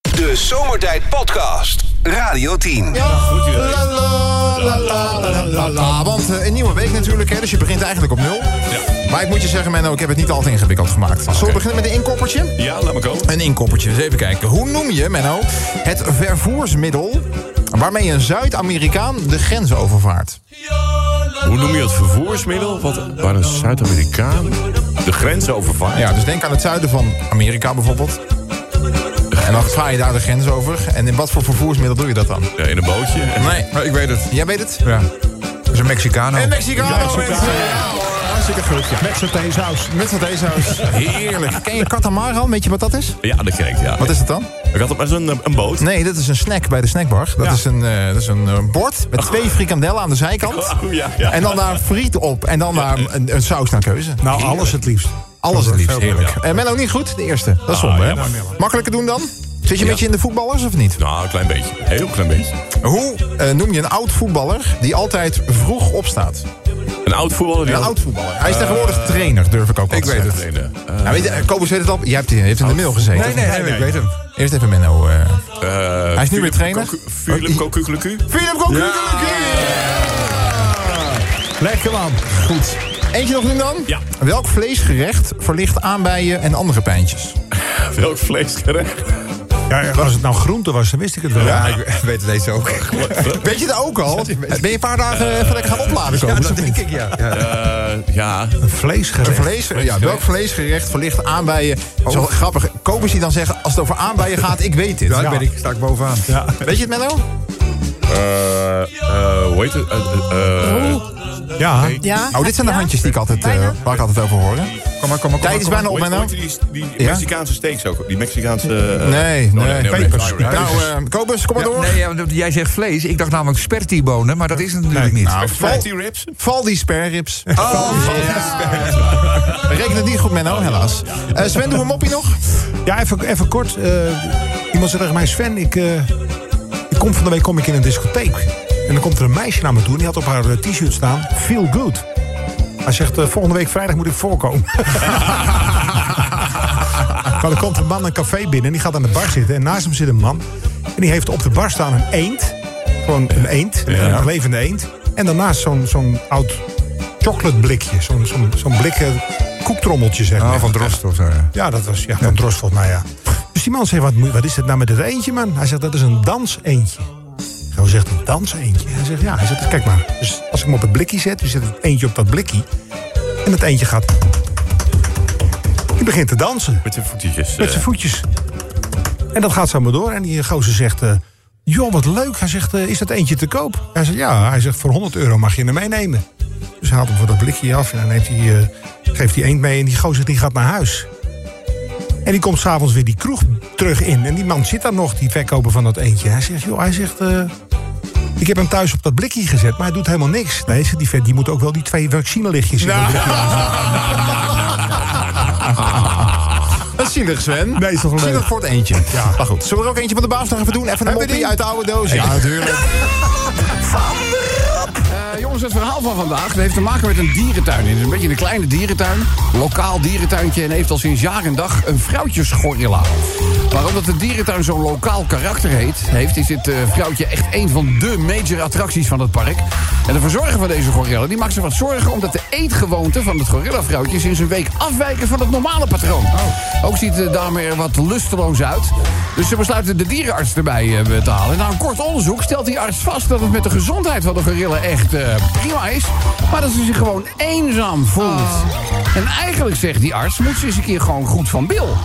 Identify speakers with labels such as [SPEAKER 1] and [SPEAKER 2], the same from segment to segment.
[SPEAKER 1] De Zomertijd Podcast. Radio 10.
[SPEAKER 2] Goed idee.
[SPEAKER 3] Ah, want eh, een nieuwe week natuurlijk, hè, dus je begint eigenlijk op nul.
[SPEAKER 2] Ja.
[SPEAKER 3] Maar ik moet je zeggen, Menno, ik heb het niet altijd ingewikkeld gemaakt. Zullen we beginnen met een inkoppertje?
[SPEAKER 2] Ja, laat me komen.
[SPEAKER 3] Een inkoppertje, eens even kijken. Hoe noem je, Menno, het vervoersmiddel waarmee een Zuid-Amerikaan de grens overvaart?
[SPEAKER 2] Hoe noem je het vervoersmiddel wat, waar een Zuid-Amerikaan de grens overvaart?
[SPEAKER 3] Ja, dus denk aan het zuiden van Amerika bijvoorbeeld. En dan vaar je daar de grens over. En in wat voor vervoersmiddel doe je dat dan?
[SPEAKER 2] Ja, in een bootje.
[SPEAKER 3] Nee.
[SPEAKER 4] Maar ik weet het.
[SPEAKER 3] Jij weet het?
[SPEAKER 4] Ja. Dat is een Mexicano.
[SPEAKER 3] Een Mexicano. mensen. Ja, hoor. Hartstikke goed. ja.
[SPEAKER 5] Met satésaus.
[SPEAKER 3] Met satésaus. Heerlijk. Ken je Katamaran? Weet je wat dat is?
[SPEAKER 2] Ja, dat ken ik, ja.
[SPEAKER 3] Wat is het dan?
[SPEAKER 2] Ik had op maar zo'n eh, een boot.
[SPEAKER 3] Nee, dat is een snack bij de snackbar. Dat
[SPEAKER 2] Ja.
[SPEAKER 3] is een, eh, dat is een eh, bord met twee frikandellen aan de zijkant.
[SPEAKER 2] Oh, ja, ja.
[SPEAKER 3] En dan daar friet op. En dan daar een, een saus naar keuze.
[SPEAKER 5] Nou, alles het liefst.
[SPEAKER 3] Alles het liefst, heerlijk.
[SPEAKER 2] ja.
[SPEAKER 3] En Menno niet goed, de eerste. Dat is
[SPEAKER 2] Ah,
[SPEAKER 3] zonde, hè?
[SPEAKER 2] jammer.
[SPEAKER 3] Makkelijker doen dan? Zit je een
[SPEAKER 2] Ja.
[SPEAKER 3] beetje in de voetballers of niet?
[SPEAKER 2] Nou, een klein beetje. Heel klein beetje.
[SPEAKER 3] Hoe eh, noem je een oud voetballer die altijd vroeg opstaat?
[SPEAKER 2] Een oud voetballer die
[SPEAKER 3] Een
[SPEAKER 2] al-
[SPEAKER 3] oud voetballer. Hij is tegenwoordig trainer, durf ik ook wel
[SPEAKER 4] ik
[SPEAKER 3] te
[SPEAKER 4] weet
[SPEAKER 3] zeggen.
[SPEAKER 4] het.
[SPEAKER 2] Nee, nee. Eh,
[SPEAKER 3] Nou, weet je, eh, Kobus weet het al. Jij hebt, je hebt in de mail
[SPEAKER 4] Nee,
[SPEAKER 3] gezeten.
[SPEAKER 4] nee, nee,
[SPEAKER 2] nee.
[SPEAKER 4] ik weet hem.
[SPEAKER 3] Eerst even Menno. eh
[SPEAKER 2] eh,
[SPEAKER 3] Hij is nu
[SPEAKER 2] Philip
[SPEAKER 3] weer trainer. Oh,
[SPEAKER 2] Cocu- Philip Kokukuluku.
[SPEAKER 3] Philip Cocu.
[SPEAKER 5] Lekker man.
[SPEAKER 3] Goed. Eentje nog doen dan?
[SPEAKER 2] Ja.
[SPEAKER 3] Welk vleesgerecht verlicht aanbijen en andere pijntjes?
[SPEAKER 2] Welk vleesgerecht?
[SPEAKER 5] Ja, als het nou groente was, dan wist ik het wel.
[SPEAKER 4] Ja, ik weet het deze ook.
[SPEAKER 3] Weet je dat ook al? Ben je een paar dagen even lekker gaan opladen
[SPEAKER 4] Ja,
[SPEAKER 3] komen?
[SPEAKER 4] dat denk ik, ja. ja.
[SPEAKER 2] Eh, ja.
[SPEAKER 5] Een vleesgerecht.
[SPEAKER 3] Vlees, ja, welk vleesgerecht verlicht aanbijen? Zo grappig. Kopers die dan zeggen, als het over aanbijen gaat, ik weet dit.
[SPEAKER 4] Daar
[SPEAKER 5] Ja.
[SPEAKER 4] ben ik, sta ik bovenaan.
[SPEAKER 5] Ja.
[SPEAKER 3] Weet je het, Menno?
[SPEAKER 2] Eh, eh, hoe heet het? Eh, eh, eh,
[SPEAKER 5] Ja.
[SPEAKER 6] Ja.
[SPEAKER 3] Oh, dit zijn de
[SPEAKER 6] Ja.
[SPEAKER 3] handjes die ik altijd, eh,
[SPEAKER 6] Bijna.
[SPEAKER 3] waar ik altijd over hoor. hè?
[SPEAKER 4] Kom maar, kom maar, kom
[SPEAKER 3] Tijd is bijna
[SPEAKER 2] hoe
[SPEAKER 3] op,
[SPEAKER 2] heet-
[SPEAKER 3] Menno.
[SPEAKER 2] hoe heet die, die
[SPEAKER 3] Ja?
[SPEAKER 2] Mexicaanse steaks ook? Die Mexicaanse... eh,
[SPEAKER 3] Nee,
[SPEAKER 2] oh,
[SPEAKER 3] nee.
[SPEAKER 5] Pepers.
[SPEAKER 2] sorry.
[SPEAKER 3] Nou, eh Kobus, kom maar door.
[SPEAKER 4] nee, ja, want jij zegt vlees. Ik dacht namelijk spertiebonen, maar dat is het natuurlijk niet.
[SPEAKER 3] Nou, val,
[SPEAKER 2] Fatty ribs?
[SPEAKER 3] val die sperrips. Reken het niet goed, Menno, helaas. Eh, Sven, doe een moppie nog.
[SPEAKER 5] Ja, even, even kort. eh, iemand zei tegen mij, Sven, ik, eh, ik kom van de week kom ik in een discotheek. En dan komt er een meisje naar me toe en die had op haar eh, t-shirt staan, feel good. Hij zegt, eh, volgende week vrijdag moet ik voorkomen. maar dan komt een man een café binnen en die gaat aan de bar zitten. En naast hem zit een man. En die heeft op de bar staan een eend. Gewoon een eend, een levende eend. En daarnaast zo'n zo'n oud chocoladeblikje. Zo'n zo'n zo'n blik eh, koektrommeltje, zeg maar.
[SPEAKER 4] Ah, van Drost of zo. ja.
[SPEAKER 5] Ja, dat was ja, van Drost volgens mij, ja. Dus die man zegt, wat, moet- wat is het nou met dit eentje, man? Hij zegt, dat is een danseentje. Zo zegt een danseentje. Hij zegt, ja, hij zegt, kijk maar. Dus als ik hem op het blikje zet, dus zet het eentje op dat blikje. En dat eentje gaat... Die begint te dansen
[SPEAKER 2] Met zijn voetjes. eh.
[SPEAKER 5] met zijn voetjes. En dat gaat zo maar door. En die gozer zegt, eh, joh, wat leuk. Hij zegt, eh, is dat eentje te koop? Hij zegt, ja. Hij zegt, voor 100 euro mag je hem meenemen. Dus hij haalt hem van dat blikje af en dan neemt hij, eh, geeft hij eend mee. En die gozer die gaat naar huis. En die komt s'avonds weer die kroeg terug in. En die man zit daar nog, die verkoper van dat eentje. Hij zegt, joh, hij zegt... eh, ik heb hem thuis op dat blikje gezet, maar hij doet helemaal niks. Nee, zegt die vet, die moet ook wel die twee vaccinelichtjes in. dat blikje
[SPEAKER 3] Dat is zielig, Sven.
[SPEAKER 5] Nee, is toch leuk.
[SPEAKER 3] Zielig voor het eentje.
[SPEAKER 5] Ja.
[SPEAKER 3] Maar goed, zullen we er ook eentje van de baas nog even doen? Even een moppie uit de oude doos. Ja, natuurlijk.
[SPEAKER 7] Eh, jongens, het verhaal van vandaag heeft te maken met een dierentuin. Het is een beetje een kleine dierentuin, lokaal dierentuintje... en heeft al sinds jaar en dag een vrouwtjesgorilla. Maar omdat de dierentuin zo'n lokaal karakter heet, heeft... is dit eh, vrouwtje echt een van de major attracties van het park. En de verzorger van deze gorilla die maakt zich wat zorgen... omdat de eetgewoonten van het gorillavrouwtje sinds een week afwijken van het normale patroon. Ook ziet de dame er wat lusteloos uit. Dus ze besluiten de dierenarts erbij eh, te halen. Na een kort onderzoek stelt die arts vast dat het met de gezondheid van de gorilla echt eh, prima is. Maar dat ze zich gewoon eenzaam voelt. En eigenlijk zegt die arts, moet ze eens een keer gewoon goed van bil.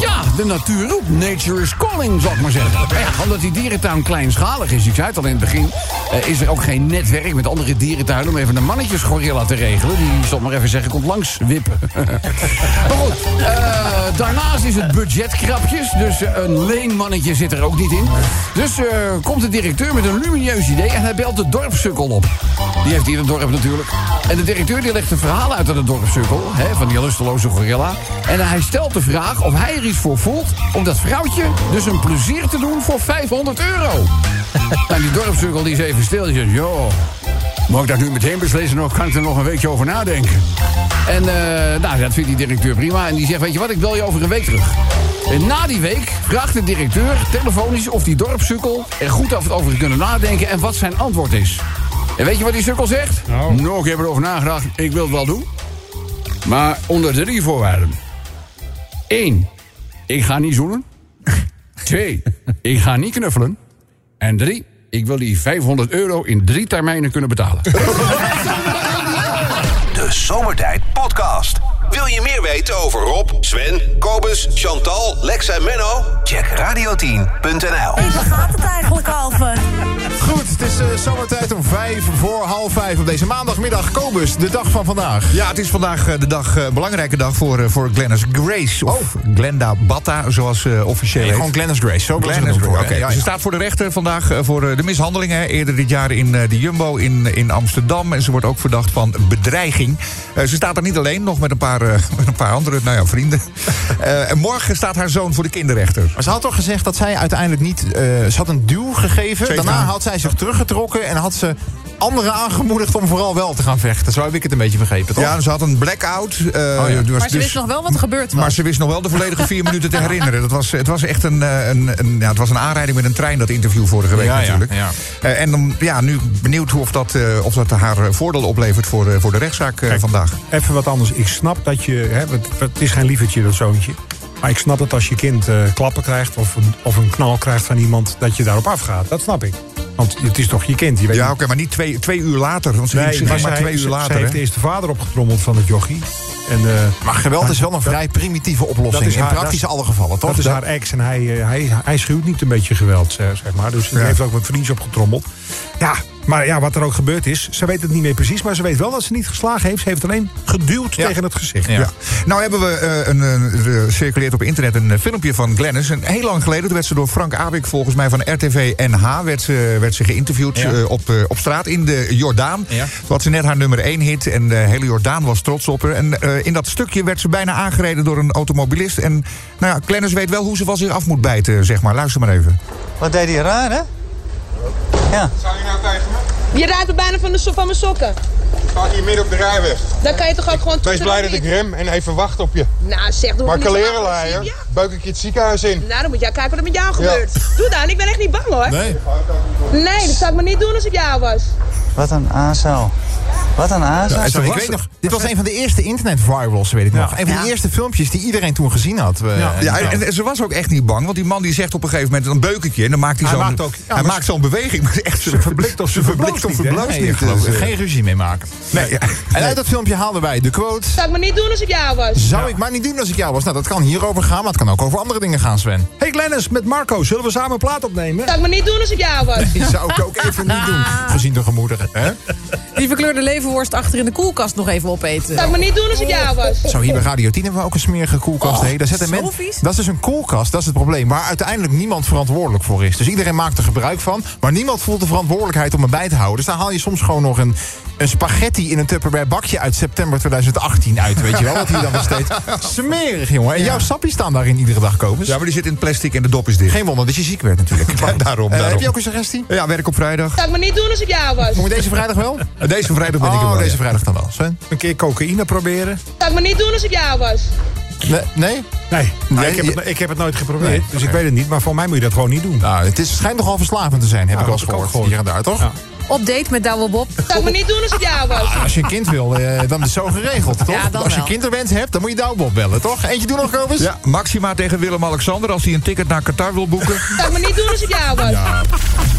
[SPEAKER 7] Ja, de natuur roept. Nature is calling, zal ik maar zeggen. Echt, omdat die dierentuin kleinschalig is, ik zei het al in het begin... eh, is er ook geen netwerk met andere dierentuinen... om even een mannetjesgorilla te regelen. Die, zal ik maar even zeggen, komt langs wippen. maar goed, eh, daarnaast is het budget krapjes. Dus eh, een leenmannetje zit er ook niet in. Dus eh, komt de directeur met een lumineus idee... en hij belt de dorpssukkel op. Die heeft hier in het dorp natuurlijk. En de directeur die legt een verhaal uit aan de dorpssukkel... Hè, van die lusteloze gorilla. En hij stelt de vraag of hij er iets voor voelt... om dat vrouwtje dus een plezier Nou, te doen voor 500 euro. En die dorpssukkel die is even stil. Die zegt, joh... Moet ik dat nu meteen beslissen of kan ik er nog een weekje over nadenken? En eh, nou, dat vindt die directeur prima. En die zegt, weet je wat, ik bel je over een week terug. En na die week vraagt de directeur telefonisch of die dorpssukkel er goed af- over kunnen nadenken en wat zijn antwoord is. En weet je wat die sukkel zegt? Nou, ik heb erover nagedacht, ik wil het wel doen. Maar onder drie voorwaarden. Eén, ik ga niet zoenen. Twee, ik ga niet knuffelen. En drie, ik wil die 500 euro in drie termijnen kunnen betalen.
[SPEAKER 1] De Zomertijd Podcast. Wil je meer weten over Rob, Sven, Kobus, Chantal, Lex en Menno? Check radio10.nl.
[SPEAKER 6] Hé, waar gaat het eigenlijk over?
[SPEAKER 3] Goed, het is eh, zomertijd om vijf voor half vijf op deze maandagmiddag. Kobus, de dag van vandaag.
[SPEAKER 4] Ja, het is vandaag eh, de dag, eh, belangrijke dag voor, eh, voor Glennis Grace. Of Glenda Batta, zoals ze officieel heet.
[SPEAKER 3] Oh. gewoon Glennis Grace. Zo
[SPEAKER 4] Glennis
[SPEAKER 3] Glennis
[SPEAKER 4] Grace,
[SPEAKER 3] Grace.
[SPEAKER 4] oké. Ze staat voor de rechter vandaag eh, voor eh, de mishandelingen. hè, Eerder dit jaar in eh, de Jumbo in, in Amsterdam. En ze wordt ook verdacht van bedreiging. Eh, Ze staat er niet alleen, nog met een paar, eh, met een paar andere nou ja, vrienden. Eh, en morgen staat haar zoon voor de kinderrechter.
[SPEAKER 3] Maar ze had toch gezegd dat zij uiteindelijk niet... eh, ze had een duw gegeven.
[SPEAKER 4] Zeker.
[SPEAKER 3] Daarna had zij zich teruggetrokken en had ze anderen aangemoedigd om vooral wel te gaan vechten. Zo heb ik het een beetje vergeten, toch?
[SPEAKER 4] Ja, ze had een blackout. eh, die was
[SPEAKER 8] Maar ze
[SPEAKER 4] dus-
[SPEAKER 8] wist nog wel wat er gebeurd was.
[SPEAKER 4] Maar
[SPEAKER 3] Nou.
[SPEAKER 4] ze wist nog wel de volledige vier minuten te herinneren. Dat was, het was echt een, eh, een, een, ja, het was een aanrijding met een trein, dat interview vorige week
[SPEAKER 3] Ja, ja,
[SPEAKER 4] natuurlijk.
[SPEAKER 3] ja.
[SPEAKER 4] Eh, en dan, ja, nu benieuwd hoe of dat, eh, of dat haar eh, voordeel oplevert voor, eh, voor de rechtszaak eh, vandaag.
[SPEAKER 5] Even wat anders. Ik snap dat je... Hè, want het is geen lievertje, dat zoontje. Maar ik snap dat als je kind eh, klappen krijgt... Of een, of een knal krijgt van iemand, dat je daarop afgaat. Dat snap ik. Want het is toch je kind. Je weet
[SPEAKER 4] Ja,
[SPEAKER 5] niet-
[SPEAKER 4] oké, maar niet twee, twee uur later. Want ze ging- ze ging
[SPEAKER 5] maar
[SPEAKER 4] maar
[SPEAKER 5] zij-
[SPEAKER 4] twee uur
[SPEAKER 5] zij-
[SPEAKER 4] later.
[SPEAKER 5] zij heeft
[SPEAKER 4] hè.
[SPEAKER 5] eerst de vader opgetrommeld van het jochie. En, eh,
[SPEAKER 3] Maar geweld is wel een vrij primitieve oplossing.
[SPEAKER 5] is haar-
[SPEAKER 3] in praktisch
[SPEAKER 5] dat is-
[SPEAKER 3] alle gevallen, toch? Dus
[SPEAKER 5] dat is haar ex en hij, eh, hij, hij schuwt niet een beetje geweld, eh, zeg maar. Dus hij
[SPEAKER 4] Ja.
[SPEAKER 5] heeft ook wat vriendjes opgetrommeld. Ja, maar ja, wat er ook gebeurd is, ze weet het niet meer precies... maar ze weet wel dat ze niet geslagen heeft. Ze heeft alleen geduwd tegen het gezicht.
[SPEAKER 4] Ja. Nou hebben we eh, een, eh, er circuleert op internet een eh, filmpje van Glennis. En heel lang geleden toen werd ze door Frank Awik, volgens mij van RTV NH, werd ze, werd ze geïnterviewd eh, op, eh, op straat in de Jordaan.
[SPEAKER 3] Ja.
[SPEAKER 4] Toen had ze net haar nummer 1 hit en de hele Jordaan was trots op haar. En eh, in dat stukje werd ze bijna aangereden door een automobilist. En nou ja, Glennis weet wel hoe ze van zich af moet bijten, zeg maar. Luister maar even.
[SPEAKER 9] Wat deed hij raar, hè? Ja.
[SPEAKER 10] nou
[SPEAKER 11] Je raakt me bijna van, de so- van mijn sokken.
[SPEAKER 10] Ga hier midden op de rijweg.
[SPEAKER 11] Dan kan je toch ook gewoon
[SPEAKER 10] Wees blij dat ik rem en even wacht op je.
[SPEAKER 11] Nou zeg, doe
[SPEAKER 10] Maar
[SPEAKER 11] niet zo
[SPEAKER 10] kalerenlaaier,
[SPEAKER 11] agressief,
[SPEAKER 10] buik ik je het ziekenhuis
[SPEAKER 11] ja?
[SPEAKER 10] in.
[SPEAKER 11] Nou, dan moet jij kijken wat er met jou gebeurt. Doe dan, ik ben echt niet bang hoor. Nee, dat zou ik maar niet doen als ik jou was.
[SPEAKER 9] Wat een azaal. Wat een azaal.
[SPEAKER 3] Ja, sorry, ik weet nog, dit was een van de eerste internet-virals, weet ik nog. Een van de eerste filmpjes die iedereen toen gezien had. eh, in
[SPEAKER 4] Ja,
[SPEAKER 3] die
[SPEAKER 4] en, en ze was ook echt niet bang, want die man die zegt op een gegeven moment... dan beuk ik je en dan maakt hij,
[SPEAKER 5] Hij
[SPEAKER 4] zo'n,
[SPEAKER 5] maakt ook- ja,
[SPEAKER 4] hij
[SPEAKER 5] maar
[SPEAKER 4] maakt zo'n beweging. Maar echt, ze verblikt of ze verblikt of
[SPEAKER 5] niet, hè?
[SPEAKER 4] verbluft
[SPEAKER 3] Nee,
[SPEAKER 4] niet.
[SPEAKER 3] geloof ik.
[SPEAKER 4] Dus, eh,
[SPEAKER 3] Geen ruzie mee maken.
[SPEAKER 4] nee, ja.
[SPEAKER 3] En uit dat filmpje haalden wij de quote...
[SPEAKER 11] Dat zou ik maar niet doen als ik jou was.
[SPEAKER 3] Zou ik maar niet doen als ik jou was. Nou, dat kan hierover gaan, maar het kan ook over andere dingen gaan, Sven.
[SPEAKER 5] Hey Glennis, met Marco, zullen we samen een plaat opnemen?
[SPEAKER 11] Dat zou ik maar niet doen als ik jou was.
[SPEAKER 3] Die zou ik ook even niet doen, gezien de gemoederen. Hè?
[SPEAKER 8] Die verkleurde levenworst achter in de koelkast nog even opeten.
[SPEAKER 11] Dat zou ik maar niet doen als ik jou was.
[SPEAKER 3] Zo, hier bij Radio 10 hebben we ook een smerige
[SPEAKER 4] Oh,
[SPEAKER 3] koelkast. heen. Daar zetten
[SPEAKER 8] zo
[SPEAKER 3] men,
[SPEAKER 8] vies.
[SPEAKER 3] dat is dus een koelkast, dat is het probleem. Waar uiteindelijk niemand verantwoordelijk voor is. Dus iedereen maakt er gebruik van, maar niemand voelt de verantwoordelijkheid om erbij te houden. Dus dan haal je soms gewoon nog een, een spaghetti in een Tupperware bakje uit september 2018 uit. Weet je wel, wat hier dan nog steeds. Smerig, jongen. En jouw sappies staan daarin iedere dag, Kobus.
[SPEAKER 4] Ja, maar die zit in plastic en de dop is dicht.
[SPEAKER 3] Geen wonder dat je ziek werd natuurlijk.
[SPEAKER 4] Ja, daarom,
[SPEAKER 3] Eh,
[SPEAKER 4] daarom.
[SPEAKER 3] heb je ook een suggestie?
[SPEAKER 4] Ja, werk op vrijdag.
[SPEAKER 11] Dat zou ik maar niet doen als ik jou was.
[SPEAKER 3] Kom je deze vrijdag wel?
[SPEAKER 4] Deze vrijdag ben ik er
[SPEAKER 3] Oh,
[SPEAKER 4] wel.
[SPEAKER 3] deze
[SPEAKER 4] ja.
[SPEAKER 3] vrijdag dan wel, Sven.
[SPEAKER 5] Een keer cocaïne proberen?
[SPEAKER 11] Dat zou ik maar niet doen als ik jou was.
[SPEAKER 3] Nee? nee?
[SPEAKER 5] Nee, Nou,
[SPEAKER 3] Nee,
[SPEAKER 5] ik, heb
[SPEAKER 3] je-
[SPEAKER 5] het, ik heb het nooit geprobeerd.
[SPEAKER 3] Nee,
[SPEAKER 5] Dus
[SPEAKER 3] oké.
[SPEAKER 5] ik weet het niet, maar voor mij moet je dat gewoon niet doen. Nou,
[SPEAKER 3] Nou, het is, schijnt nogal verslavend te zijn, heb ik wel
[SPEAKER 5] dat
[SPEAKER 3] eens
[SPEAKER 5] heb ik
[SPEAKER 3] gehoord.
[SPEAKER 5] ook gehoord.
[SPEAKER 3] Hier en daar, toch?
[SPEAKER 5] Ja.
[SPEAKER 8] Op date met Douwe Bob.
[SPEAKER 11] Dat zou ik maar niet doen als ik jou was.
[SPEAKER 3] Ah, Als je een kind wil, eh, dan is het zo geregeld, toch?
[SPEAKER 8] Ja, dan
[SPEAKER 3] Als je
[SPEAKER 8] wel.
[SPEAKER 3] kinderwens hebt, dan moet je Douwbob bellen, toch? Eentje doen nog, Kobus?
[SPEAKER 4] Ja, Maxima tegen Willem-Alexander als hij een ticket naar Qatar wil boeken.
[SPEAKER 11] Dat zou ik maar niet doen als ik jou was.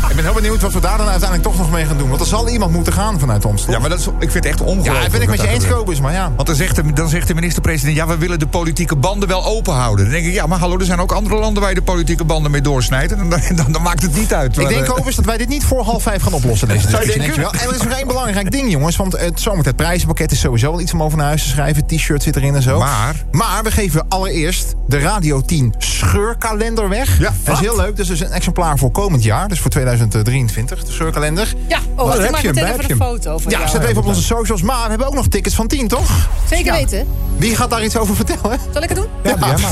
[SPEAKER 3] Ik ben heel benieuwd wat we daar dan uiteindelijk toch nog mee gaan doen. Want er zal iemand moeten gaan vanuit ons, toch?
[SPEAKER 4] ja, maar dat is, ik vind het echt
[SPEAKER 3] Ja,
[SPEAKER 4] ongelooflijk.
[SPEAKER 3] dat ben ik met
[SPEAKER 4] wat
[SPEAKER 3] je
[SPEAKER 4] daar
[SPEAKER 3] eens,
[SPEAKER 4] gebeurt.
[SPEAKER 3] Kobus, maar ja.
[SPEAKER 4] Want dan zegt, de, dan zegt de minister-president... ja, we willen de politieke banden wel openhouden. Dan denk ik, ja, maar hallo, er zijn ook andere landen... waar je de politieke banden mee doorsnijdt. En dan, dan, dan maakt het niet uit.
[SPEAKER 3] Ik
[SPEAKER 4] Maar,
[SPEAKER 3] denk,
[SPEAKER 4] eh,
[SPEAKER 3] Kobus, dat wij dit niet voor half vijf gaan oplossen. Deze
[SPEAKER 4] Zou je
[SPEAKER 3] discussie,
[SPEAKER 4] denken?
[SPEAKER 3] denk je wel. En er is nog één belangrijk ding, jongens. Want het zomertijd prijzenpakket is sowieso wel iets om over naar huis te schrijven. T-shirt zit erin en zo.
[SPEAKER 4] Maar-
[SPEAKER 3] Maar we geven allereerst de Radio 10 scheurkalender weg.
[SPEAKER 4] Ja,
[SPEAKER 3] Dat
[SPEAKER 4] wat?
[SPEAKER 3] is heel leuk. Dus er is een exemplaar voor komend jaar. Dus voor 2023, de scheurkalender.
[SPEAKER 8] Ja, oh,
[SPEAKER 3] heb
[SPEAKER 8] wacht, ik maak
[SPEAKER 3] je hem,
[SPEAKER 8] meteen
[SPEAKER 3] heb
[SPEAKER 8] even
[SPEAKER 3] je
[SPEAKER 8] een
[SPEAKER 3] hem.
[SPEAKER 8] foto van
[SPEAKER 3] Ja,
[SPEAKER 8] jou.
[SPEAKER 3] zet even op onze socials. Maar we hebben ook nog tickets van 10, toch?
[SPEAKER 8] Zeker weten.
[SPEAKER 3] Wie gaat daar iets over vertellen?
[SPEAKER 8] Zal ik het doen?
[SPEAKER 3] Ja, ja.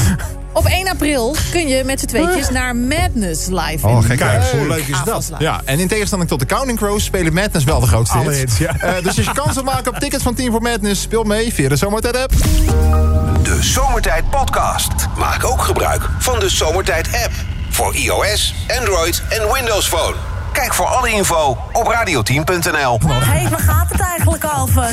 [SPEAKER 8] Op 1 april kun je met z'n tweetjes naar Madness live. in
[SPEAKER 3] gek.
[SPEAKER 8] Kijk,
[SPEAKER 3] Hoe leuk is dat?
[SPEAKER 8] Avondslaan.
[SPEAKER 3] Oh, Ja, en in tegenstelling tot de Counting Crows spelen Madness wel de grootste
[SPEAKER 5] Alle hits, ja.
[SPEAKER 3] Eh, dus als je kans wilt maken op tickets van Team voor Madness, speel mee via de Zomertijd app.
[SPEAKER 1] De Zomertijd Podcast. Maak ook gebruik van de Zomertijd app. Voor iOS, Android en Windows Phone. Kijk voor alle info op radioteam.nl.
[SPEAKER 6] Hé, hey, waar gaat het eigenlijk over?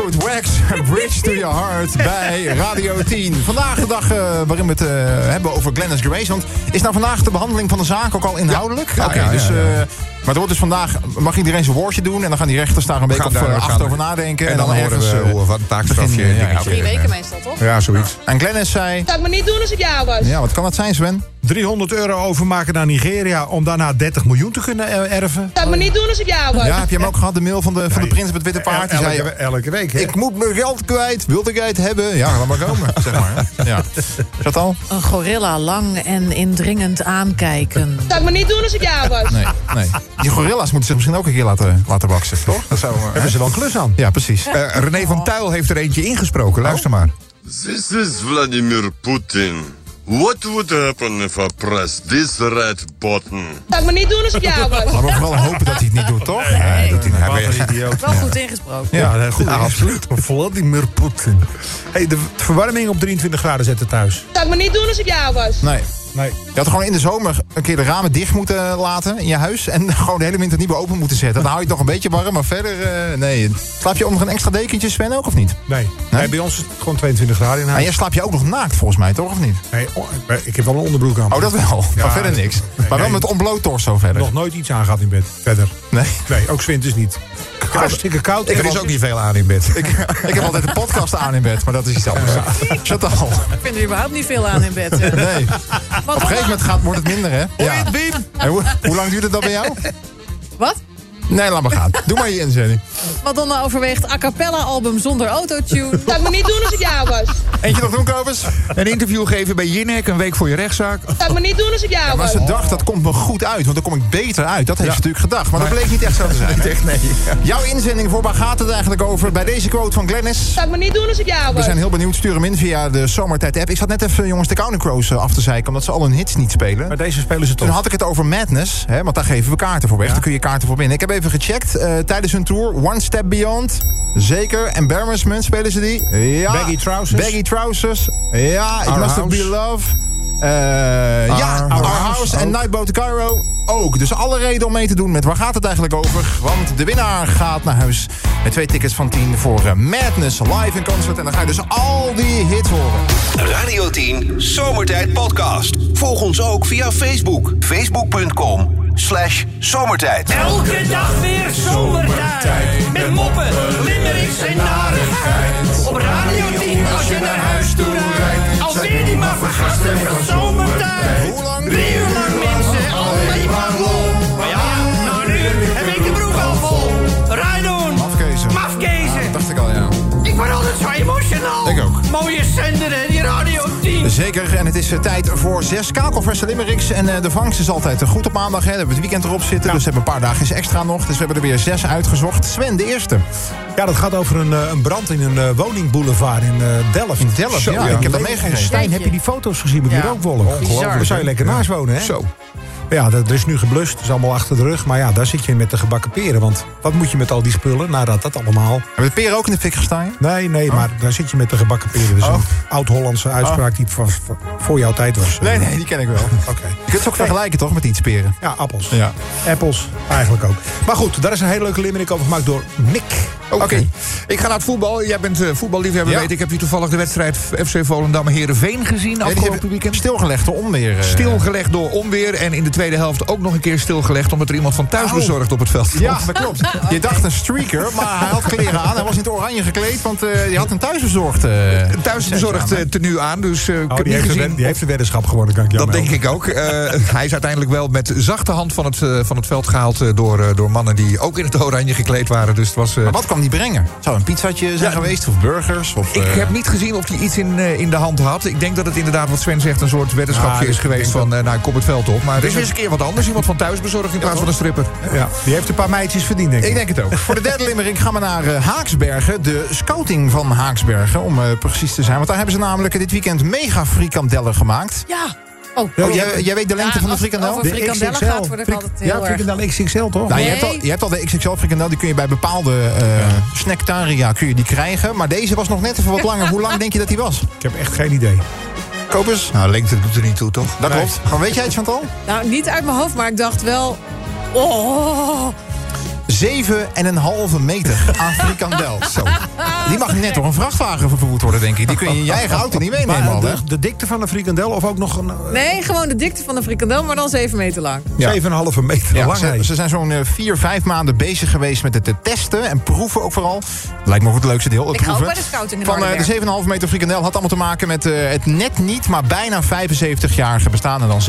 [SPEAKER 3] Goed, Wax, Bridge to Your Heart bij Radio 10. Vandaag de dag eh, waarin we het eh, hebben over Glennis Grace. Want is nou vandaag de behandeling van de zaak ook al inhoudelijk?
[SPEAKER 4] Ja,
[SPEAKER 3] Oké,
[SPEAKER 4] ja,
[SPEAKER 3] dus,
[SPEAKER 4] ja, ja.
[SPEAKER 3] eh, maar het wordt dus vandaag, mag iedereen zijn woordje doen... en dan gaan die rechters daar een week
[SPEAKER 4] gaan
[SPEAKER 3] of
[SPEAKER 4] daar-
[SPEAKER 3] eh,
[SPEAKER 4] we
[SPEAKER 3] acht
[SPEAKER 4] gaan-
[SPEAKER 3] over nadenken.
[SPEAKER 4] en dan horen we
[SPEAKER 3] ergens, eh,
[SPEAKER 4] hoe- wat een taakstrafje,
[SPEAKER 3] begin, eh, ja,
[SPEAKER 4] dingetje.
[SPEAKER 8] Drie weken meestal, toch?
[SPEAKER 4] Ja, zoiets.
[SPEAKER 3] En Glennis zei...
[SPEAKER 11] Zou ik me niet doen als ik jou was.
[SPEAKER 3] Ja, wat kan dat zijn, Sven?
[SPEAKER 5] 300 euro overmaken naar Nigeria om daarna 30 miljoen te kunnen eh, erven.
[SPEAKER 11] Zou ik me niet doen als ik jou was.
[SPEAKER 3] Ja, heb je hem ook gehad, de mail van de, van de prins op het Witte Paard? Die
[SPEAKER 5] elke,
[SPEAKER 3] zei,
[SPEAKER 5] elke week, hè?
[SPEAKER 3] ik moet mijn geld kwijt, wilde ik het hebben? Ja, laat maar komen, zeg maar. hè. Ja. Chantal?
[SPEAKER 8] Een gorilla lang en indringend aankijken.
[SPEAKER 11] Zou ik me niet doen als ik jou was.
[SPEAKER 3] Nee, nee. Die gorilla's moeten zich misschien ook een keer laten, laten baksen, toch? Dat zou,
[SPEAKER 5] Hebben ze wel een klus aan?
[SPEAKER 3] Ja, precies.
[SPEAKER 4] Eh, René
[SPEAKER 8] Oh.
[SPEAKER 4] van Tuil heeft er eentje ingesproken. Luister maar.
[SPEAKER 5] Oh.
[SPEAKER 12] This is Vladimir Putin. What would happen if I press this red button?
[SPEAKER 11] Zou ik me niet doen als ik jou was.
[SPEAKER 3] Laten we vooral hopen dat hij het niet doet, toch?
[SPEAKER 4] Ja, doet hij nou
[SPEAKER 5] Wat
[SPEAKER 4] weer.
[SPEAKER 5] een idioot.
[SPEAKER 8] Wel goed ingesproken.
[SPEAKER 5] Ja, nee, goed, absoluut. Vladimir Poetin. Hey, de verwarming op 23 graden zetten thuis.
[SPEAKER 11] Zou ik me niet doen als ik jou was.
[SPEAKER 3] Nee.
[SPEAKER 5] Nee.
[SPEAKER 3] Je had gewoon in de zomer een keer de ramen dicht moeten laten in je huis. En gewoon de hele winter niet meer open moeten zetten. Dan hou je het nog een beetje warm, maar verder... eh, nee. Slaap je onder een extra dekentje, Sven, ook of niet?
[SPEAKER 5] Nee. Nee, bij ons is het gewoon 22 graden in
[SPEAKER 3] Maar
[SPEAKER 5] huis.
[SPEAKER 3] jij slaap je ook nog naakt, volgens mij, toch? Of niet?
[SPEAKER 5] Nee, oh, maar ik heb wel een onderbroek aan.
[SPEAKER 3] Oh, dat wel.
[SPEAKER 5] Ja,
[SPEAKER 3] maar verder niks. maar
[SPEAKER 5] nee,
[SPEAKER 3] wel
[SPEAKER 5] nee.
[SPEAKER 3] met onbloot torso verder.
[SPEAKER 5] Nog nooit iets aangehad in bed. Verder.
[SPEAKER 3] Nee.
[SPEAKER 5] Nee, ook 's winters niet. Hartstikke koud.
[SPEAKER 4] Er is ook niet veel aan in bed.
[SPEAKER 3] Ik, ik heb altijd een podcast aan in bed, maar dat is iets anders. Chantal.
[SPEAKER 8] Ik vind er überhaupt niet veel aan in bed. eh.
[SPEAKER 3] Nee.
[SPEAKER 8] Wat,
[SPEAKER 3] Op een gegeven moment gaat, wordt het minder, hè? Ja. En hoe, hoe lang duurt het dan bij jou?
[SPEAKER 8] wat?
[SPEAKER 3] Nee, laat maar gaan. Doe maar je inzending.
[SPEAKER 8] Madonna overweegt a cappella album zonder autotune.
[SPEAKER 11] Zou ik me niet doen als ik jou was.
[SPEAKER 3] Eentje nog doen, Kobus?
[SPEAKER 4] Een interview geven bij Jinek, een week voor je rechtszaak.
[SPEAKER 11] Zou ik me niet doen als ik jou
[SPEAKER 3] Maar
[SPEAKER 11] was.
[SPEAKER 3] ze dacht, dat komt me goed uit, want dan kom ik beter uit. Dat heeft ze natuurlijk gedacht, maar dat bleek niet echt zo te zijn.
[SPEAKER 4] Echt nee.
[SPEAKER 3] Jouw inzending voor waar gaat het eigenlijk over? Bij deze quote van Glennis.
[SPEAKER 11] Zou ik me niet doen als ik jou
[SPEAKER 3] We
[SPEAKER 11] was.
[SPEAKER 3] zijn heel benieuwd, stuur hem in via de Zomertijd-app. Ik zat net even, jongens, de Counting Crows eh, af te zeiken... omdat ze al hun hits niet spelen.
[SPEAKER 5] Maar deze spelen ze
[SPEAKER 3] Toen
[SPEAKER 5] toch.
[SPEAKER 3] had ik het over Madness, hè, want daar geven we kaarten voor weg. Daar kun je kaarten voor winnen. Ik heb even gecheckt eh, tijdens hun tour. One Step Beyond, zeker. Embarrassment spelen ze die. Ja.
[SPEAKER 5] Baggy Trousers.
[SPEAKER 3] Baggy Trousers. Ja, It
[SPEAKER 5] Our
[SPEAKER 3] Must Have
[SPEAKER 5] House.
[SPEAKER 3] Be Love. Eh, ja, Our,
[SPEAKER 5] House
[SPEAKER 3] House en
[SPEAKER 5] ook.
[SPEAKER 3] Nightboat to Cairo ook. Dus alle reden om mee te doen met waar gaat het eigenlijk over. Want de winnaar gaat naar huis met twee tickets van 10 voor eh, Madness live in concert. En dan ga je dus al die hits horen.
[SPEAKER 1] Radio 10 Zomertijd Podcast. Volg ons ook via Facebook. Facebook.com slash zomertijd.
[SPEAKER 13] Elke dag weer zomertijd. Met moppen, limmerings en narigheid. Op Radio 10 als je naar huis toe rijdt. Alweer die maar vergasten van zomertijd.
[SPEAKER 3] Hoe lang?
[SPEAKER 13] Drie uur lang mensen, alleen maar lol. Maar ja, nou nu heb ik de broek al vol. Rijdoen,
[SPEAKER 3] Afkezen. Ah,
[SPEAKER 13] mafkezen.
[SPEAKER 3] Dacht ik al, ja.
[SPEAKER 13] Ik word altijd zo emotional.
[SPEAKER 3] Ik ook.
[SPEAKER 13] Mooie zender en die Radio 10.
[SPEAKER 3] Zeker, en het is eh, tijd voor zes kakelverse limericks. En eh, de vangst is altijd eh, goed op maandag. Hè. We hebben we het weekend erop zitten, dus we hebben een paar dagen extra nog. Dus we hebben er weer zes uitgezocht. Sven, de eerste.
[SPEAKER 5] Ja, dat gaat over een, eh, een brand in een eh, woningboulevard in eh, Delft.
[SPEAKER 3] In Delft,
[SPEAKER 5] Zo,
[SPEAKER 3] ja, ik heb dat meegekregen.
[SPEAKER 5] Stijn, heb je die foto's gezien met die
[SPEAKER 8] Ja.
[SPEAKER 5] rookwolk?
[SPEAKER 8] Bizar.
[SPEAKER 5] Daar zou je lekker naast wonen, hè?
[SPEAKER 4] Zo.
[SPEAKER 5] Ja, dat, er is nu geblust, dat is allemaal achter de rug. Maar ja, daar zit je met de gebakken peren. Want wat moet je met al die spullen nadat dat allemaal...
[SPEAKER 3] Hebben we de peren ook in de fik gestaan?
[SPEAKER 5] Nee, nee,
[SPEAKER 4] Oh.
[SPEAKER 5] maar daar zit je met de gebakken peren. Dus een oud-Hollandse uitspraak
[SPEAKER 4] Oh.
[SPEAKER 5] die van- van- voor jouw tijd was.
[SPEAKER 3] Nee, nee, die ken ik wel.
[SPEAKER 5] Oké.
[SPEAKER 3] Je kunt ze ook vergelijken, toch, met iets peren?
[SPEAKER 5] Ja, appels.
[SPEAKER 3] Ja.
[SPEAKER 5] Appels, eigenlijk ook. Maar goed, daar is een hele leuke limerick over gemaakt door Mick.
[SPEAKER 4] Oké. Ik ga naar het voetbal. Jij bent eh, voetballiefhebber,
[SPEAKER 3] Ja.
[SPEAKER 4] weet ik. Heb je toevallig de wedstrijd FC Volendam Herenveen gezien
[SPEAKER 3] Ja, die
[SPEAKER 4] afgelopen
[SPEAKER 3] hebben
[SPEAKER 4] weekend?
[SPEAKER 3] Stilgelegd door onweer. eh.
[SPEAKER 4] Stilgelegd door onweer en in de tweede helft ook nog een keer stilgelegd... omdat er iemand van thuis bezorgd op het veld stond.
[SPEAKER 3] Ja, dat klopt. Je dacht een streaker, maar hij had kleren aan. Hij was niet oranje gekleed, want eh je had een thuisbezorgd. eh,
[SPEAKER 4] Een thuisbezorgd eh, tenue aan, dus eh ik heb
[SPEAKER 5] Oh, die,
[SPEAKER 4] niet
[SPEAKER 5] heeft de,
[SPEAKER 4] gezien.
[SPEAKER 5] wed- die heeft de weddenschap gewonnen, kan ik jou
[SPEAKER 4] Dat denk
[SPEAKER 5] melden.
[SPEAKER 4] ik ook. Eh, hij is uiteindelijk wel met zachte hand van het, eh, van het veld gehaald... eh, door, eh, door mannen die ook in het oranje gekleed waren. Dus het was... eh,
[SPEAKER 3] Maar wat kwam die brengen? Zou een pizzatje zijn geweest, of burgers? Of,
[SPEAKER 4] Ik
[SPEAKER 3] eh,
[SPEAKER 4] heb niet gezien of hij iets in, eh, in de hand had. Ik denk dat het inderdaad, wat Sven zegt, een soort weddenschapje
[SPEAKER 5] Ja,
[SPEAKER 4] is
[SPEAKER 5] ik
[SPEAKER 4] geweest
[SPEAKER 5] denk
[SPEAKER 4] van... eh, nou, ik kom het veld op. Maar
[SPEAKER 3] Dus
[SPEAKER 4] er
[SPEAKER 3] is
[SPEAKER 4] een keer wat anders. Iemand van thuis bezorgd in plaats van een stripper.
[SPEAKER 3] Ja, die heeft een paar meidjes verdiend, denk ik.
[SPEAKER 4] Ik denk het ook.
[SPEAKER 3] Voor de derde limmering gaan we naar eh, Haaksbergen. De scouting van Haaksbergen, om eh, precies te zijn. Want daar hebben ze namelijk dit weekend mega frikandellen gemaakt.
[SPEAKER 8] Ja. Oh,
[SPEAKER 3] Oh, jij, jij weet de
[SPEAKER 8] Ja,
[SPEAKER 3] lengte van
[SPEAKER 8] als
[SPEAKER 3] de
[SPEAKER 8] het
[SPEAKER 3] frikandel?
[SPEAKER 8] over frikandellen
[SPEAKER 3] XXL.
[SPEAKER 8] gaat, word ik
[SPEAKER 3] Frik-
[SPEAKER 8] altijd heel erg-
[SPEAKER 3] XXL toch?
[SPEAKER 8] Nee.
[SPEAKER 3] je, hebt al, je hebt al de XXL frikandel, die kun je bij bepaalde eh snacktaria kun je die krijgen. Maar deze was nog net even wat langer. Hoe lang denk je dat die was?
[SPEAKER 5] Ik heb echt geen idee.
[SPEAKER 3] Kopers?
[SPEAKER 4] Nou, lengte doet er niet toe, toch?
[SPEAKER 3] Dat klopt. Maar weet jij het, Chantal?
[SPEAKER 8] Nou, niet uit mijn hoofd, maar ik dacht wel... Oh,
[SPEAKER 3] 7,5 meter aan frikandel. Zo. Die mag net door een vrachtwagen vervoerd worden, denk ik. Die kun je in je eigen auto niet meenemen
[SPEAKER 5] Maar,
[SPEAKER 3] al,
[SPEAKER 5] eh,
[SPEAKER 3] hè?
[SPEAKER 5] de, de dikte van een frikandel of ook nog een eh,
[SPEAKER 8] Nee, gewoon de dikte van een frikandel, maar dan 7 meter lang.
[SPEAKER 3] Ja.
[SPEAKER 5] 7,5 meter
[SPEAKER 3] Ja,
[SPEAKER 5] lang.
[SPEAKER 3] ze,
[SPEAKER 5] hij.
[SPEAKER 3] ze zijn zo'n eh, vier, vijf maanden bezig geweest met het te testen en proeven ook vooral. Lijkt me ook het leukste deel, het
[SPEAKER 8] Ik ga ook
[SPEAKER 3] proeven.
[SPEAKER 8] bij de scouting in
[SPEAKER 3] Van eh,
[SPEAKER 8] Hardenberg.
[SPEAKER 3] de 7,5 meter frikandel had allemaal te maken met eh, het net niet, maar bijna 75-jarige bestaan. En dan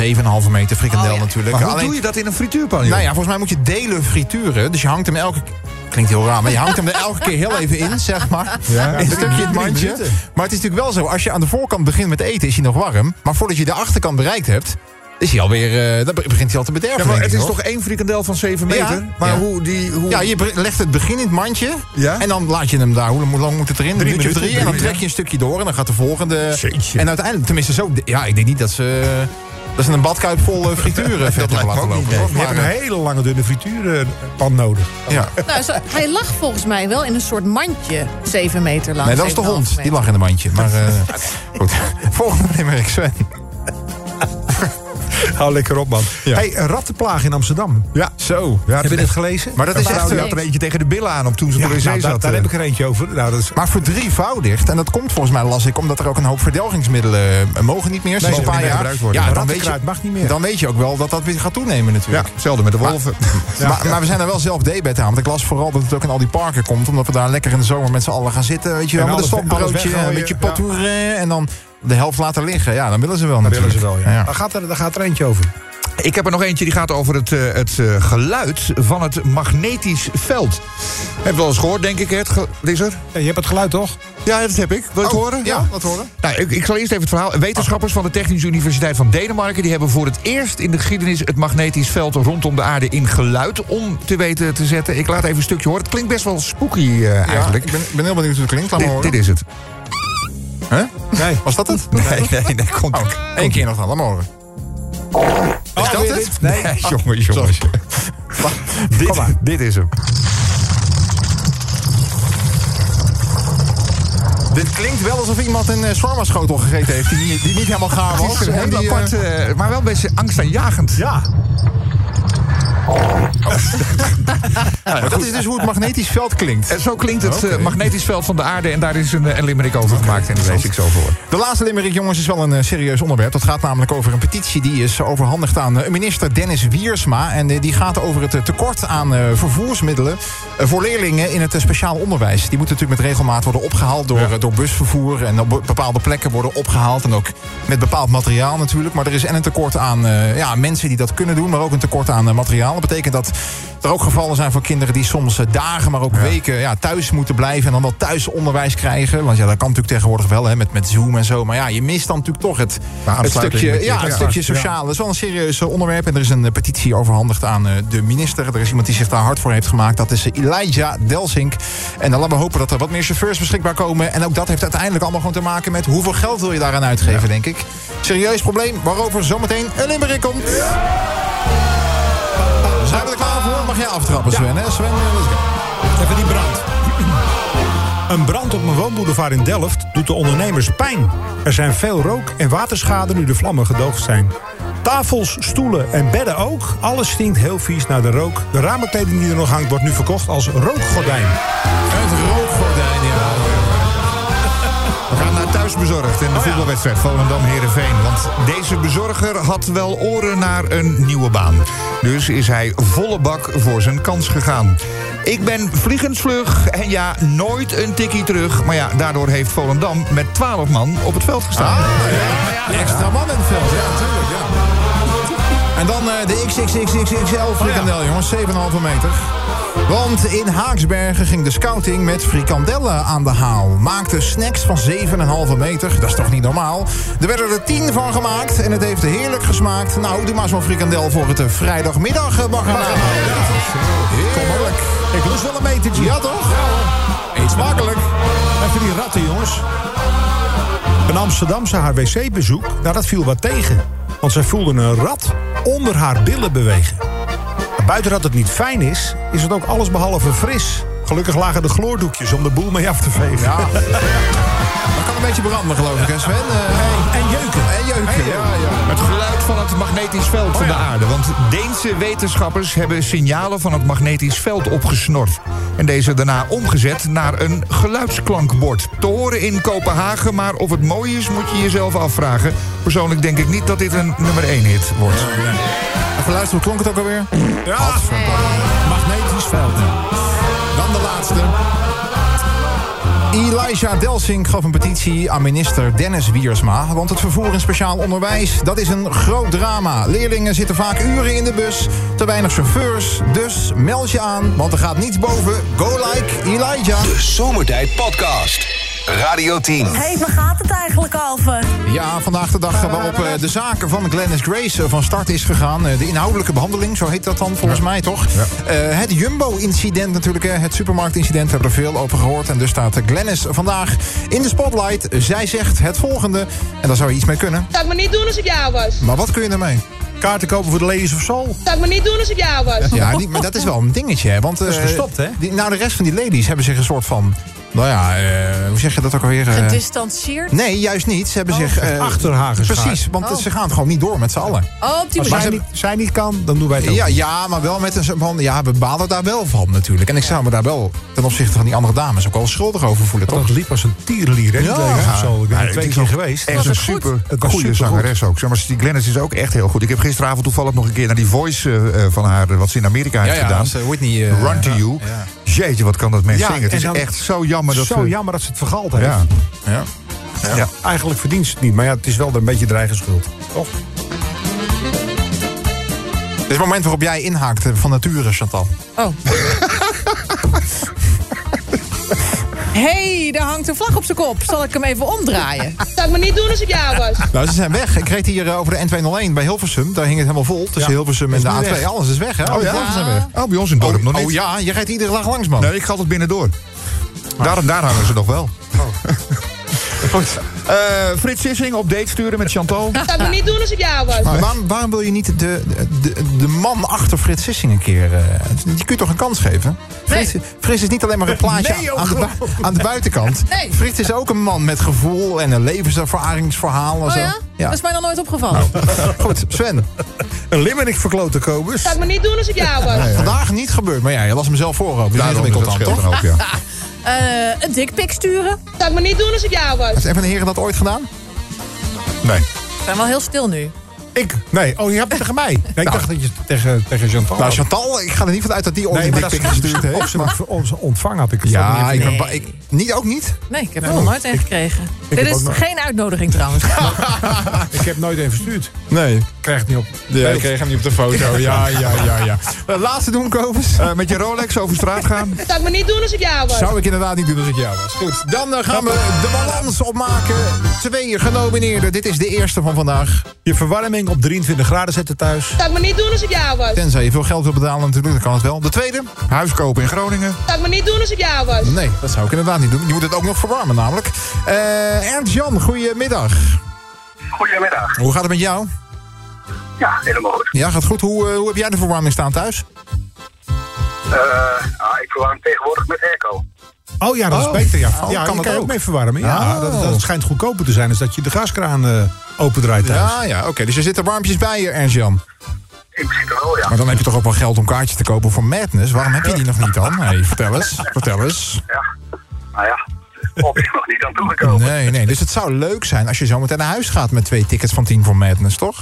[SPEAKER 3] 7,5 meter frikandel
[SPEAKER 8] Oh,
[SPEAKER 3] natuurlijk.
[SPEAKER 4] Maar hoe
[SPEAKER 3] Alleen-
[SPEAKER 4] doe je dat in een frituurpan, joh?
[SPEAKER 3] Nou ja, volgens mij moet je delen frituren. Dus je hangt hem elke Klinkt heel raar, maar je hangt hem er elke keer heel even in, zeg maar.
[SPEAKER 5] Ja.
[SPEAKER 3] een stukje in het
[SPEAKER 5] Drie
[SPEAKER 3] mandje.
[SPEAKER 5] minuten.
[SPEAKER 3] Maar het is natuurlijk wel zo, als je aan de voorkant begint met eten, is hij nog warm. Maar voordat je de achterkant bereikt hebt, is hij alweer, eh dan be- begint hij al te bederven.
[SPEAKER 4] Ja, maar
[SPEAKER 3] denk
[SPEAKER 4] het
[SPEAKER 3] ik,
[SPEAKER 4] is
[SPEAKER 3] hoor.
[SPEAKER 4] toch één frikandel van 7 meter?
[SPEAKER 3] Ja.
[SPEAKER 4] Maar
[SPEAKER 3] Ja.
[SPEAKER 4] hoe die... Hoe...
[SPEAKER 3] Ja, je bre- legt het begin in het mandje.
[SPEAKER 4] Ja?
[SPEAKER 3] En dan laat je hem daar. Hoe lang moet het erin? Een
[SPEAKER 4] Drie
[SPEAKER 3] minuutje of drie.
[SPEAKER 4] minuten,
[SPEAKER 3] En dan
[SPEAKER 4] drie,
[SPEAKER 3] trek je een stukje door. En dan gaat de volgende.
[SPEAKER 4] Jeetje.
[SPEAKER 3] En uiteindelijk, tenminste zo. Ja, ik denk niet dat ze. Dat ze een badkuip vol eh, frituren verder
[SPEAKER 5] lijkt me
[SPEAKER 3] laten
[SPEAKER 5] ook niet,
[SPEAKER 3] lopen.
[SPEAKER 5] nee.
[SPEAKER 3] hoor.
[SPEAKER 5] Je hebt een
[SPEAKER 3] Maar, eh,
[SPEAKER 5] hele lange dunne frituurpan nodig.
[SPEAKER 3] Ja.
[SPEAKER 8] Nou, zo- hij lag volgens mij wel in een soort mandje, 7 meter lang.
[SPEAKER 3] Nee, dat was de
[SPEAKER 8] 7,5
[SPEAKER 3] hond. Die
[SPEAKER 8] meter.
[SPEAKER 3] lag in een mandje. Maar eh, goed. Volgende nummer, Sven.
[SPEAKER 5] Hou lekker op, man.
[SPEAKER 3] Ja.
[SPEAKER 5] Hey, een rattenplaag in Amsterdam.
[SPEAKER 3] Ja, zo.
[SPEAKER 5] Heb je dit gelezen?
[SPEAKER 3] Maar dat is echt... eh,
[SPEAKER 4] die had er eentje tegen de billen aan op toen ze
[SPEAKER 5] Ja,
[SPEAKER 4] voor de
[SPEAKER 5] nou,
[SPEAKER 4] zee
[SPEAKER 5] daar,
[SPEAKER 4] zat.
[SPEAKER 5] daar heb ik er eentje over. Nou, dat is
[SPEAKER 3] Maar verdrievoudigd, en dat komt volgens mij, las ik... omdat er ook een hoop verdelgingsmiddelen eh, mogen niet meer sinds
[SPEAKER 4] mogen
[SPEAKER 3] een paar
[SPEAKER 4] niet meer
[SPEAKER 3] jaar.
[SPEAKER 4] gebruikt worden.
[SPEAKER 3] Ja, dan weet, je,
[SPEAKER 5] rattenkruid mag niet meer.
[SPEAKER 3] dan weet je ook wel dat dat weer gaat toenemen natuurlijk.
[SPEAKER 4] Ja, hetzelfde met de wolven.
[SPEAKER 3] Maar, maar we zijn er wel zelf debet aan. Want ik las vooral dat het ook in al die parken komt. Omdat we daar lekker in de zomer met z'n allen gaan zitten. Weet je wel,
[SPEAKER 5] En
[SPEAKER 3] met een
[SPEAKER 5] alles- alles
[SPEAKER 3] stokbroodje,
[SPEAKER 5] weggooien,
[SPEAKER 3] een beetje
[SPEAKER 5] ja.
[SPEAKER 3] potpourri. En dan de helft laten liggen. Ja, dan willen ze wel
[SPEAKER 5] dat willen
[SPEAKER 3] natuurlijk.
[SPEAKER 5] ze wel, ja. Daar, gaat er, daar gaat er eentje over.
[SPEAKER 4] Ik heb er nog eentje die gaat over het, eh, het eh, geluid van het magnetisch veld. Heb je wel eens gehoord, denk ik, hè, het ge- Lisser?
[SPEAKER 5] Ja, Ah, je hebt het geluid, toch?
[SPEAKER 4] Ja, dat heb ik. Wil je het
[SPEAKER 3] Oh,
[SPEAKER 4] horen?
[SPEAKER 3] Ja, dat horen.
[SPEAKER 4] Nou, ik, ik zal eerst even het verhaal. Wetenschappers van de Technische Universiteit van Denemarken... die hebben voor het eerst in de geschiedenis het magnetisch veld rondom de aarde in geluid om te weten te zetten. Ik laat even een stukje horen. Het klinkt best wel spooky eh,
[SPEAKER 3] Ja,
[SPEAKER 4] eigenlijk.
[SPEAKER 3] ik ben, ik ben heel benieuwd hoe het klinkt. Laat maar
[SPEAKER 4] dit,
[SPEAKER 3] horen.
[SPEAKER 4] dit is het.
[SPEAKER 3] Huh?
[SPEAKER 5] Nee.
[SPEAKER 3] Was dat het?
[SPEAKER 4] Nee, nee, nee, komt ook.
[SPEAKER 3] Eén keer nog dan, laat maar horen.
[SPEAKER 5] Oh,
[SPEAKER 3] Is dat
[SPEAKER 5] weer
[SPEAKER 3] het?
[SPEAKER 5] dit? Nee.
[SPEAKER 4] jongen, jongens. dit, dit is hem.
[SPEAKER 3] Dit klinkt wel alsof iemand een eh, shawarma-schotel gegeten heeft... die, niet- die niet helemaal gaar
[SPEAKER 4] Het
[SPEAKER 3] was.
[SPEAKER 4] is een
[SPEAKER 3] en
[SPEAKER 4] hele
[SPEAKER 3] die, eh,
[SPEAKER 4] aparte, eh, maar wel een beetje angstaanjagend.
[SPEAKER 5] Ja.
[SPEAKER 3] maar dat is dus hoe het magnetisch veld klinkt.
[SPEAKER 4] En zo klinkt het eh,
[SPEAKER 3] Oké.
[SPEAKER 4] magnetisch veld van de aarde. En daar is een, eh, een limerick over gemaakt. En daar lees ik zo voor.
[SPEAKER 3] De laatste limerick, jongens, is wel een eh, serieus onderwerp. Dat gaat namelijk over een petitie die is overhandigd aan eh, minister Dennis Wiersma. En eh, die gaat over het eh, tekort aan eh, vervoersmiddelen eh, voor leerlingen in het eh, speciaal onderwijs. Die moeten natuurlijk met regelmaat worden opgehaald door, eh, door busvervoer. En op be- bepaalde plekken worden opgehaald. En ook met bepaald materiaal natuurlijk. Maar er is en een tekort aan eh, ja, mensen die dat kunnen doen. Maar ook een tekort aan eh, materiaal. Dat betekent dat er ook gevallen zijn voor kinderen die soms eh, dagen, maar ook weken ja, thuis moeten blijven. En dan wel thuis onderwijs krijgen. Want ja, dat kan natuurlijk tegenwoordig wel hè, met, met Zoom en zo. Maar ja, je mist dan natuurlijk toch het, het
[SPEAKER 4] aansluiting
[SPEAKER 3] stukje,
[SPEAKER 4] met je
[SPEAKER 3] ja, het
[SPEAKER 4] kinderen.
[SPEAKER 3] stukje
[SPEAKER 4] Ja.
[SPEAKER 3] sociale. Dat is wel een serieus eh, onderwerp. En er is een eh, petitie overhandigd aan eh, de minister. Er is iemand die zich daar hard voor heeft gemaakt. Dat is eh, Elijah Delsink. En dan laten we hopen dat er wat meer chauffeurs beschikbaar komen. En ook dat heeft uiteindelijk allemaal gewoon te maken met hoeveel geld wil je daaraan uitgeven, denk ik. Serieus probleem waarover zometeen een limerick komt. Zijn we er klaar voor? Mag jij aftrappen, Sven? Hè? Sven, eh, let's go.
[SPEAKER 5] Even die brand. Een brand op een woonboulevard in Delft doet de ondernemers pijn. Er zijn veel rook- en waterschade nu de vlammen gedoofd zijn. Tafels, stoelen en bedden ook. Alles stinkt heel vies naar de rook. De ramerkleding die er nog hangt wordt nu verkocht als rookgordijn.
[SPEAKER 3] Het rookgordijn, ja.
[SPEAKER 4] We gaan eh, naar thuisbezorgd en de voetbalwedstrijd Volendam-Herenveen. Want deze bezorger had wel oren naar een nieuwe baan. Dus is hij volle bak voor zijn kans gegaan. Ik ben vliegensvlug en ja, nooit een tikkie terug. Maar ja, daardoor heeft Volendam met 12 Ah. man op het veld gestaan.
[SPEAKER 3] Extra man in het veld, ja, natuurlijk. Ja. En En dan eh, de XXXXXL frikandel, jongens. 7,5 meter. Want in Haaksbergen ging de scouting met frikandellen aan de haal. Maakte snacks van 7,5 meter. Dat is toch niet normaal? Er werden er 10 van gemaakt en het heeft heerlijk gesmaakt. Nou, doe maar zo'n frikandel voor het eh, vrijdagmiddag eh, baggernaal. Heerlijk.
[SPEAKER 5] Ik lust wel een metertje.
[SPEAKER 3] Ja, toch?
[SPEAKER 5] Eet smakelijk. Even die ratten, jongens. Een Amsterdamse haar wc-bezoek, nou dat viel wat tegen. Want zij voelde een rat onder haar billen bewegen. En buiten dat het niet fijn is, is het ook allesbehalve fris. Gelukkig lagen de gloordoekjes om de boel mee af te vegen. Ja.
[SPEAKER 3] Dat kan een beetje branden, geloof ik, hè Sven? Eh,
[SPEAKER 5] en jeuken.
[SPEAKER 3] En jeuken, ja, ja.
[SPEAKER 4] Het geluid van het magnetisch veld van de aarde. Want Deense wetenschappers hebben signalen van het magnetisch veld opgesnort. En deze daarna omgezet naar een geluidsklankbord. Te horen in Kopenhagen, maar of het mooi is moet je jezelf afvragen. Persoonlijk denk ik niet dat dit een nummer 1 hit wordt.
[SPEAKER 3] Even luisteren, hoe klonk het ook alweer?
[SPEAKER 5] Ja. Magnetisch veld.
[SPEAKER 3] Dan de laatste. Elijah Delsing gaf een petitie aan minister Dennis Wiersma. Want het vervoer in speciaal onderwijs, dat is een groot drama. Leerlingen zitten vaak uren in de bus, te weinig chauffeurs. Dus meld je aan, want er gaat niets boven. Go like Elijah.
[SPEAKER 1] De Zomertijd Podcast. Radio 10.
[SPEAKER 6] Hé, hey, waar gaat het eigenlijk over?
[SPEAKER 3] Ja, vandaag de dag waarop eh, de zaken van Glennis Grace eh, van start is gegaan. Eh, De inhoudelijke behandeling, zo heet dat dan volgens mij toch? Eh, het Jumbo-incident natuurlijk, eh, het supermarktincident, hebben we er veel over gehoord. En dus staat eh, Glennis vandaag in de spotlight. Zij zegt het volgende, en daar zou je iets mee kunnen.
[SPEAKER 11] Zou ik me niet doen als ik jou was.
[SPEAKER 3] Maar wat kun je ermee?
[SPEAKER 5] Kaarten kopen voor de Ladies of Soul.
[SPEAKER 11] Zou ik me niet doen als ik jou was.
[SPEAKER 3] Ja, die- maar dat is wel een dingetje, hè? Want,
[SPEAKER 5] is
[SPEAKER 3] eh,
[SPEAKER 5] gestopt, hè?
[SPEAKER 3] die- nou, de rest van die ladies hebben zich een soort van... Nou ja, eh, hoe zeg je dat ook alweer? eh,
[SPEAKER 8] Gedistanceerd?
[SPEAKER 3] Nee, juist niet. Ze hebben zich... eh,
[SPEAKER 5] Achter haar geschaard.
[SPEAKER 3] Precies, want
[SPEAKER 8] Oh.
[SPEAKER 3] ze gaan het gewoon niet door met z'n allen.
[SPEAKER 8] Oh, op die
[SPEAKER 5] Als zij
[SPEAKER 8] manier.
[SPEAKER 5] niet, zij niet kan, dan doen wij het ook.
[SPEAKER 3] Ja, ja, maar wel met een soort van. Ja, we balen daar wel van natuurlijk. En ik zou me daar wel ten opzichte van die andere dames ook wel schuldig over voelen,
[SPEAKER 5] Dat
[SPEAKER 3] toch?
[SPEAKER 5] liep als een tierenlier, hè? die
[SPEAKER 3] Ja.
[SPEAKER 5] Ladies of Soul. Ik ben
[SPEAKER 4] Ja,
[SPEAKER 5] er twee
[SPEAKER 4] het
[SPEAKER 5] keer geweest.
[SPEAKER 4] Echt een
[SPEAKER 8] was goed.
[SPEAKER 4] super
[SPEAKER 5] Het was
[SPEAKER 4] goede
[SPEAKER 5] supergoed.
[SPEAKER 4] zangeres ook. Zeg maar, die Glennis is ook echt heel goed. Ik heb gisteravond toevallig nog een keer naar die voice eh, eh, van haar... eh, wat ze in Amerika heeft
[SPEAKER 3] ja,
[SPEAKER 4] gedaan.
[SPEAKER 3] dat is, eh, Whitney, eh,
[SPEAKER 4] Run to
[SPEAKER 3] ja,
[SPEAKER 4] You.
[SPEAKER 3] ja.
[SPEAKER 4] Jeetje, wat kan dat mens
[SPEAKER 5] Ja,
[SPEAKER 4] zingen. Het
[SPEAKER 5] en
[SPEAKER 4] is
[SPEAKER 5] dan-
[SPEAKER 4] echt zo jammer dat
[SPEAKER 5] zo
[SPEAKER 4] ze...
[SPEAKER 5] jammer dat ze het vergaald heeft.
[SPEAKER 4] Ja.
[SPEAKER 3] Ja.
[SPEAKER 5] Ja. Eigenlijk verdient ze het niet, maar ja, het is wel een beetje de eigen schuld. Toch?
[SPEAKER 3] Het is het moment waarop jij inhaakt eh, van nature, Chantal.
[SPEAKER 8] Oh. hey, daar hangt een vlag op zijn kop. Zal ik hem even omdraaien?
[SPEAKER 11] Zou ik me niet doen als ik jou was.
[SPEAKER 3] Nou, ze zijn weg. Ik reed hier eh, over de N201 bij Hilversum. Daar hing het helemaal vol. Tussen
[SPEAKER 5] Ja.
[SPEAKER 3] Hilversum en
[SPEAKER 5] Is
[SPEAKER 3] de
[SPEAKER 5] nu
[SPEAKER 3] A2.
[SPEAKER 5] weg.
[SPEAKER 3] Alles is weg, hè?
[SPEAKER 4] Oh
[SPEAKER 3] Alle
[SPEAKER 4] ja?
[SPEAKER 3] vlaggen zijn weg.
[SPEAKER 4] Oh, bij ons in het dorp nog niet.
[SPEAKER 3] Oh ja, je rijdt iedere dag langs, man.
[SPEAKER 4] Nee, ik ga altijd binnendoor. Daar, daar hangen ze nog wel. Goed. Eh, Frits Sissing op date sturen met Chantal.
[SPEAKER 11] Zou ik me niet doen als ik jou was.
[SPEAKER 3] Maar waarom, waarom wil je niet de, de, de man achter Frits Sissing een keer... eh, die kun je toch een kans geven? Frits, Frits is niet alleen maar een plaatje
[SPEAKER 5] Nee, oh
[SPEAKER 3] aan, de, bui- aan de buitenkant.
[SPEAKER 8] Nee.
[SPEAKER 3] Frits is ook een man met gevoel en een levenservaringsverhaal. En
[SPEAKER 8] Oh
[SPEAKER 3] zo.
[SPEAKER 8] ja? Dat is mij nog nooit opgevallen.
[SPEAKER 3] Goed, Sven.
[SPEAKER 5] Een limmerik verkloten, Kobus.
[SPEAKER 11] Zou ik me niet doen als ik jou was.
[SPEAKER 3] Vandaag niet gebeurd, maar ja, je las hem zelf voor. Ook. Dus ingewikkeld dan, toch?
[SPEAKER 4] ook, ja.
[SPEAKER 3] Nou.
[SPEAKER 8] Eh, een dikpik sturen?
[SPEAKER 11] Zou ik me niet doen als ik jou was.
[SPEAKER 3] Heeft een van de heren dat ooit gedaan?
[SPEAKER 4] Nee.
[SPEAKER 8] Ik ben wel heel stil nu.
[SPEAKER 5] Ik? Nee. Oh, je hebt het tegen mij. Nee, ik dacht dat je het tegen, tegen Chantal
[SPEAKER 3] Nou,
[SPEAKER 5] had.
[SPEAKER 3] Chantal, ik ga er niet van uit dat die ooit
[SPEAKER 5] Nee,
[SPEAKER 3] een
[SPEAKER 5] maar dat
[SPEAKER 3] dikpik
[SPEAKER 5] is
[SPEAKER 3] gestuurd
[SPEAKER 5] Of
[SPEAKER 3] heeft.
[SPEAKER 5] ze
[SPEAKER 3] maar-
[SPEAKER 5] maar ontvang had ik het. zo
[SPEAKER 3] ja,
[SPEAKER 5] niet
[SPEAKER 3] ik ben
[SPEAKER 5] meer.
[SPEAKER 3] ba- ik, niet, ook niet.
[SPEAKER 8] Nee, ik heb er nog nooit een gekregen. Dit
[SPEAKER 5] heb
[SPEAKER 8] is
[SPEAKER 5] ook nog-
[SPEAKER 8] geen uitnodiging trouwens.
[SPEAKER 5] ik heb nooit even verstuurd.
[SPEAKER 3] Nee.
[SPEAKER 5] Ik krijg het niet op.
[SPEAKER 3] Ja,
[SPEAKER 5] beeld.
[SPEAKER 3] ik kreeg hem niet op de foto. Ja, ja, ja, ja. Eh, Laatste doen, Kovens.
[SPEAKER 4] Eh, met je Rolex over straat gaan.
[SPEAKER 11] Zou ik me niet doen als ik jou was.
[SPEAKER 3] Zou ik inderdaad niet doen als ik jou was. Goed, dan eh, gaan we de balans opmaken. Twee genomineerden. Dit is de eerste van vandaag.
[SPEAKER 5] Je verwarming op 23 graden zetten thuis.
[SPEAKER 11] Zou ik me niet doen als ik jou was.
[SPEAKER 3] Tenzij je veel geld wil betalen natuurlijk, dan kan het wel. De tweede?
[SPEAKER 4] Huis kopen in Groningen.
[SPEAKER 11] Zou ik me niet doen als ik jou was.
[SPEAKER 3] Nee, dat zou ik inderdaad niet doen. Je moet het ook nog verwarmen namelijk. Eh Ernst-Jan, goedemiddag.
[SPEAKER 14] Goedemiddag.
[SPEAKER 3] Hoe gaat het met jou?
[SPEAKER 14] Ja, helemaal goed.
[SPEAKER 3] Ja, gaat goed. Hoe, eh, hoe heb jij de verwarming staan thuis?
[SPEAKER 14] Eh, ah, ik verwarm tegenwoordig met airco.
[SPEAKER 5] Oh ja, dat is
[SPEAKER 3] Oh.
[SPEAKER 5] beter. Ja,
[SPEAKER 3] Oh,
[SPEAKER 5] ja
[SPEAKER 3] kan
[SPEAKER 5] kan je
[SPEAKER 3] dat
[SPEAKER 5] kan je
[SPEAKER 3] ook?
[SPEAKER 5] ook mee verwarmen. Ja,
[SPEAKER 3] Oh.
[SPEAKER 5] dat, dat schijnt goedkoper te zijn als dat je de gaskraan eh, opendraait thuis.
[SPEAKER 3] Ja, ja, oké. Dus er zitten warmpjes bij je, Ernst-Jan.
[SPEAKER 14] In principe wel, ja.
[SPEAKER 3] Maar dan heb je toch ook wel geld om kaartjes te kopen voor Madness. Waarom heb je die nog niet dan? Hey, vertel eens, vertel eens.
[SPEAKER 14] ja. Nou ja, op is nog niet aan toegekomen.
[SPEAKER 3] Nee, nee. Dus het zou leuk zijn als je zo meteen naar huis gaat met twee tickets van 10 voor Madness, toch?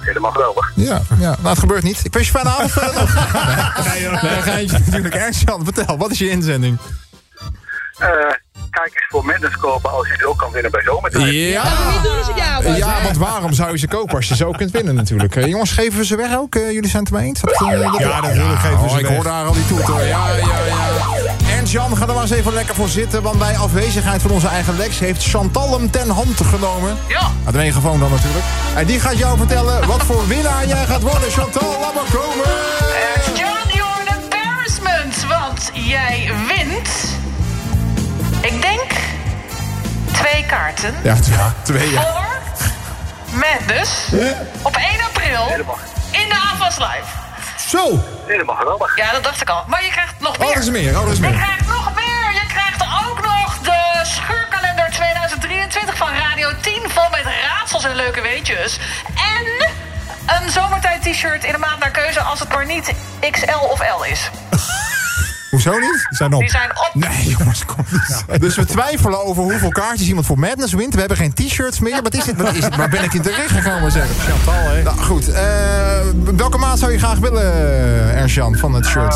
[SPEAKER 14] Helemaal geweldig.
[SPEAKER 3] Ja, ja. Nou, het gebeurt niet. Ik wens je fijne avond verder nog. Nee, geintje natuurlijk. Ernst-Jan, vertel, wat is je inzending?
[SPEAKER 14] Eh, kijkers voor Madness kopen als je ze ook kan winnen bij zomertijd.
[SPEAKER 3] Ja. Ja, want waarom zou je ze kopen als je ze ook kunt winnen natuurlijk? Eh, jongens, geven we ze weg ook? Eh, jullie zijn het ermee eens? Dat, eh, dat-
[SPEAKER 5] Ja, natuurlijk geven we
[SPEAKER 3] oh,
[SPEAKER 5] ze
[SPEAKER 3] Ik
[SPEAKER 5] weg.
[SPEAKER 3] hoor daar al die toeter. Ja, ja, ja. En Jan, ga er maar eens even lekker voor zitten. Want bij afwezigheid van onze eigen Lex heeft Chantal hem ten hand genomen. Ja. Het megafoon dan natuurlijk. En die gaat jou vertellen wat voor winnaar jij gaat worden. Chantal, laat maar komen.
[SPEAKER 15] John, you're an embarrassment, want jij wint. Ik denk twee kaarten.
[SPEAKER 3] Ja, t- ja, twee ja.
[SPEAKER 15] Voor Madness dus op 1 april in de AFAS Live.
[SPEAKER 3] Zo!
[SPEAKER 14] Helemaal geweldig.
[SPEAKER 15] Ja, dat dacht ik al. Maar je krijgt nog meer.
[SPEAKER 3] Oh, er is meer, oh, er is meer.
[SPEAKER 15] Je krijgt nog meer. Je krijgt ook nog de scheurkalender 2023 van Radio 10 vol met raadsels en leuke weetjes. En een zomertijd t-shirt in de maand naar keuze als het maar niet XL of L is.
[SPEAKER 3] Hoezo niet? Ze zijn op.
[SPEAKER 15] Die zijn op.
[SPEAKER 3] Nee, jongens, kom niet. Dus we twijfelen over hoeveel kaartjes iemand voor Madness wint. We hebben geen t-shirts meer. Wat is dit? Wat is dit? Waar ben ik in terecht gekomen, zeg? Chantal, hè? Nou, goed. Eh, welke maat zou je graag willen, Erjan, van het shirt?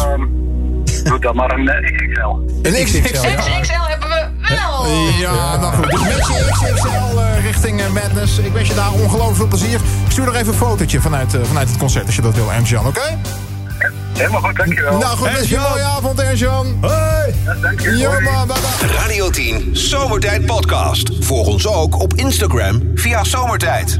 [SPEAKER 14] Doe dan maar een eh, XXL.
[SPEAKER 3] Een XXL.
[SPEAKER 15] XL hebben we wel.
[SPEAKER 3] Ja, nou goed. Dus met je XXL eh, richting eh, Madness. Ik wens je daar ongelooflijk veel plezier. Ik stuur nog even een fotootje vanuit, eh, vanuit het concert, als je dat wil, Erjan, oké?
[SPEAKER 14] Helemaal goed, dankjewel.
[SPEAKER 3] Nou goed, wens je een mooie avond, Erjan. Hoi!
[SPEAKER 14] Dank je.
[SPEAKER 3] Ja,
[SPEAKER 14] Hoi.
[SPEAKER 3] man, bye bye.
[SPEAKER 1] Radio 10 Zomertijd Podcast. Volg ons ook op Instagram via Zomertijd.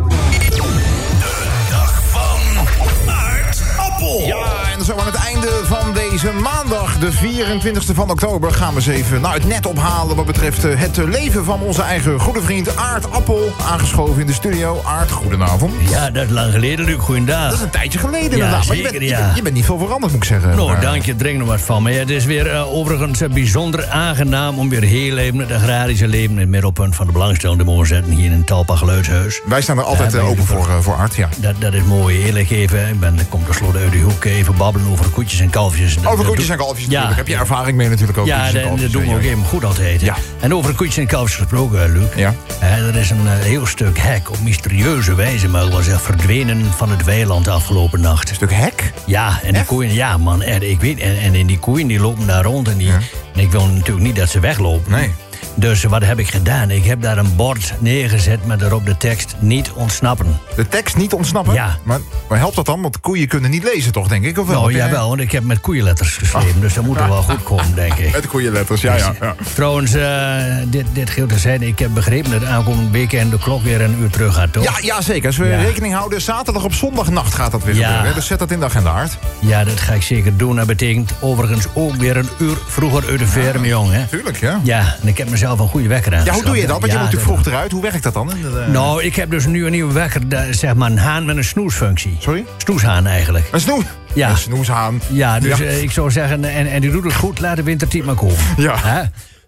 [SPEAKER 3] Appel. Ja, Oh, en zo aan het einde van deze maandag, de 24e van oktober, gaan we eens even nou, het net ophalen wat betreft eh, het eh, leven van onze eigen goede vriend Aard Appel. Aangeschoven in de studio. Aard, goedenavond.
[SPEAKER 16] Ja, dat is lang geleden, Luc. Goeiedag.
[SPEAKER 3] Dat is een tijdje geleden
[SPEAKER 16] Ja,
[SPEAKER 3] inderdaad. maar je,
[SPEAKER 16] zeker,
[SPEAKER 3] bent, je
[SPEAKER 16] ja.
[SPEAKER 3] bent- je bent niet veel veranderd, moet ik zeggen.
[SPEAKER 16] Nou,
[SPEAKER 3] Maar-
[SPEAKER 16] dank je, drink nog wat van me. Ja, het is weer eh, overigens eh, bijzonder aangenaam om weer heel even het agrarische leven in het middelpunt van de belangstelling te mogen zetten hier in Talpa Geluidshuis.
[SPEAKER 3] Wij staan er altijd
[SPEAKER 16] Ja,
[SPEAKER 3] eh, open voor, eh, voor Aard, ja.
[SPEAKER 16] Dat, dat is mooi, eerlijk even. Ik ben, ik kom tenslotte uit de hoek even babbelen over koetjes en kalfjes. Oh, Dat-
[SPEAKER 3] Over
[SPEAKER 16] dat
[SPEAKER 3] koetjes
[SPEAKER 16] doe-
[SPEAKER 3] en kalfjes
[SPEAKER 16] Ja.
[SPEAKER 3] natuurlijk. Heb je ervaring mee natuurlijk ook.
[SPEAKER 16] Ja,
[SPEAKER 3] koetjes en
[SPEAKER 16] dat, dat
[SPEAKER 3] kalfjes,
[SPEAKER 16] doen we
[SPEAKER 3] ja,
[SPEAKER 16] ook
[SPEAKER 3] ja.
[SPEAKER 16] even goed altijd. hè. En over koetjes en kalfjes gesproken, eh, Luc.
[SPEAKER 3] Ja.
[SPEAKER 16] Eh, er is een eh, heel stuk hek op mysterieuze wijze, maar was echt verdwenen van het weiland de afgelopen nacht. Een
[SPEAKER 3] stuk hek?
[SPEAKER 16] Ja, en die koeien, ja man, er, ik weet, en, en, en die koeien die lopen daar rond en, die, en ik wil natuurlijk niet dat ze weglopen. Nee. Dus wat heb ik gedaan? Ik heb daar een bord neergezet met daarop de tekst niet ontsnappen.
[SPEAKER 3] De tekst niet ontsnappen?
[SPEAKER 16] Ja.
[SPEAKER 3] Maar, maar helpt dat dan? Want koeien kunnen niet lezen toch, denk ik? Of wel?
[SPEAKER 16] Nou,
[SPEAKER 3] Heb jij-
[SPEAKER 16] jawel, want ik heb met koeienletters geschreven,
[SPEAKER 3] Oh.
[SPEAKER 16] dus dat moet er wel goed komen, denk ik.
[SPEAKER 3] Met koeienletters, ja, ja. ja.
[SPEAKER 16] Trouwens, eh, dit, dit geldt te zijn. Ik heb begrepen dat aankomend weekend de klok weer een uur terug gaat, toch?
[SPEAKER 3] Ja, ja, zeker. Als we
[SPEAKER 16] Ja.
[SPEAKER 3] rekening houden, zaterdag op zondagnacht gaat dat weer
[SPEAKER 16] Ja.
[SPEAKER 3] gebeuren. hè? Dus zet dat in de agenda, Aard.
[SPEAKER 16] Ja, dat ga ik zeker doen. Dat betekent overigens ook weer een uur vroeger uit de verre, jong. Hè?
[SPEAKER 3] Tuurlijk, ja.
[SPEAKER 16] Ja, en ik heb mezelf een goede wekker aan.
[SPEAKER 3] Ja, hoe doe je dat? Want je moet natuurlijk vroeg eruit. Hoe werkt dat dan? eh, In de-
[SPEAKER 16] Nou, ik heb dus nu een nieuwe wekker, da- zeg maar een haan met een snoesfunctie.
[SPEAKER 3] Sorry?
[SPEAKER 16] Snoeshaan eigenlijk.
[SPEAKER 3] Een snoes?
[SPEAKER 16] Ja.
[SPEAKER 3] Een snoeshaan.
[SPEAKER 16] Ja, dus
[SPEAKER 3] Ja.
[SPEAKER 16] eh, ik zou zeggen, en, en die doet het goed, laat de wintertijd maar komen.
[SPEAKER 3] Ja.
[SPEAKER 16] Hè?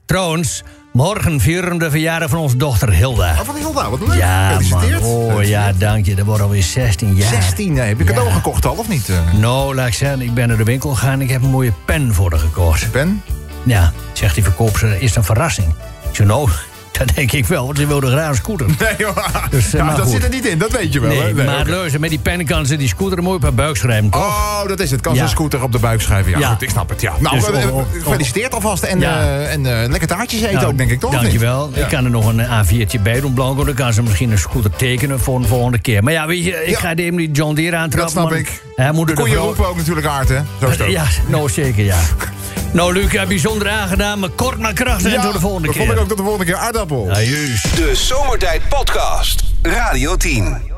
[SPEAKER 16] Trouwens, morgen vieren we de verjaardag van onze dochter Hilda.
[SPEAKER 3] Oh, wat is dat nou? Wat leuk.
[SPEAKER 16] Ja, man.
[SPEAKER 3] Gefeliciteerd.
[SPEAKER 16] Oh ja, dank je. Dat wordt alweer 16 jaar.
[SPEAKER 3] 16, nee. Heb je cadeau gekocht al of niet? eh?
[SPEAKER 16] Nou, laat ik zeggen, ik ben naar de winkel gegaan. Ik heb een mooie pen voor haar gekocht.
[SPEAKER 3] Pen?
[SPEAKER 16] Ja, zegt die verkoopster, is het een verrassing. Ik zei, nou, dat denk ik wel, want ze wilde graag een scooter.
[SPEAKER 3] Nee, joh.
[SPEAKER 16] Dus, eh,
[SPEAKER 3] Ja,
[SPEAKER 16] maar
[SPEAKER 3] dat
[SPEAKER 16] goed.
[SPEAKER 3] zit er niet in, dat weet je wel.
[SPEAKER 16] nee,
[SPEAKER 3] hè?
[SPEAKER 16] maar
[SPEAKER 3] oké.
[SPEAKER 16] luister, met die pen kan ze die scooter een mooi op haar buik schrijven, toch?
[SPEAKER 3] Oh, dat is het. Kan
[SPEAKER 16] Ja.
[SPEAKER 3] zo'n scooter op de buik schrijven. Ja,
[SPEAKER 16] Ja.
[SPEAKER 3] goed, ik snap het. Ja. Nou,
[SPEAKER 16] Dus
[SPEAKER 3] eh,
[SPEAKER 16] of-
[SPEAKER 3] eh,
[SPEAKER 16] of-
[SPEAKER 3] gefeliciteerd alvast. En,
[SPEAKER 16] Ja.
[SPEAKER 3] eh, en eh, lekker taartjes eten
[SPEAKER 16] Nou,
[SPEAKER 3] ook, denk ik, toch? of niet?
[SPEAKER 16] Dankjewel.
[SPEAKER 3] Ja.
[SPEAKER 16] Ik kan er nog een eh, A4'tje bij doen, Blanco. Dan kan ze misschien een scooter tekenen voor een volgende keer. Maar ja, weet je, ik ga de die John Deere aantrappen.
[SPEAKER 3] Dat snap
[SPEAKER 16] man.
[SPEAKER 3] ik.
[SPEAKER 16] Hij moet
[SPEAKER 3] De
[SPEAKER 16] er
[SPEAKER 3] koeien
[SPEAKER 16] vrouw-
[SPEAKER 3] roepen ook natuurlijk aard, hè? Zo is het ook.
[SPEAKER 16] Ja, nou zeker, ja. Nou, Luc, eh, bijzonder aangedaan, maar kort maar krachtig en
[SPEAKER 1] Ja,
[SPEAKER 16] tot de volgende
[SPEAKER 1] dat
[SPEAKER 16] keer.
[SPEAKER 1] vond ik ook
[SPEAKER 3] Tot de volgende keer aardappel.
[SPEAKER 16] Ja, juist.
[SPEAKER 1] De Zomertijd Podcast. Radio 10.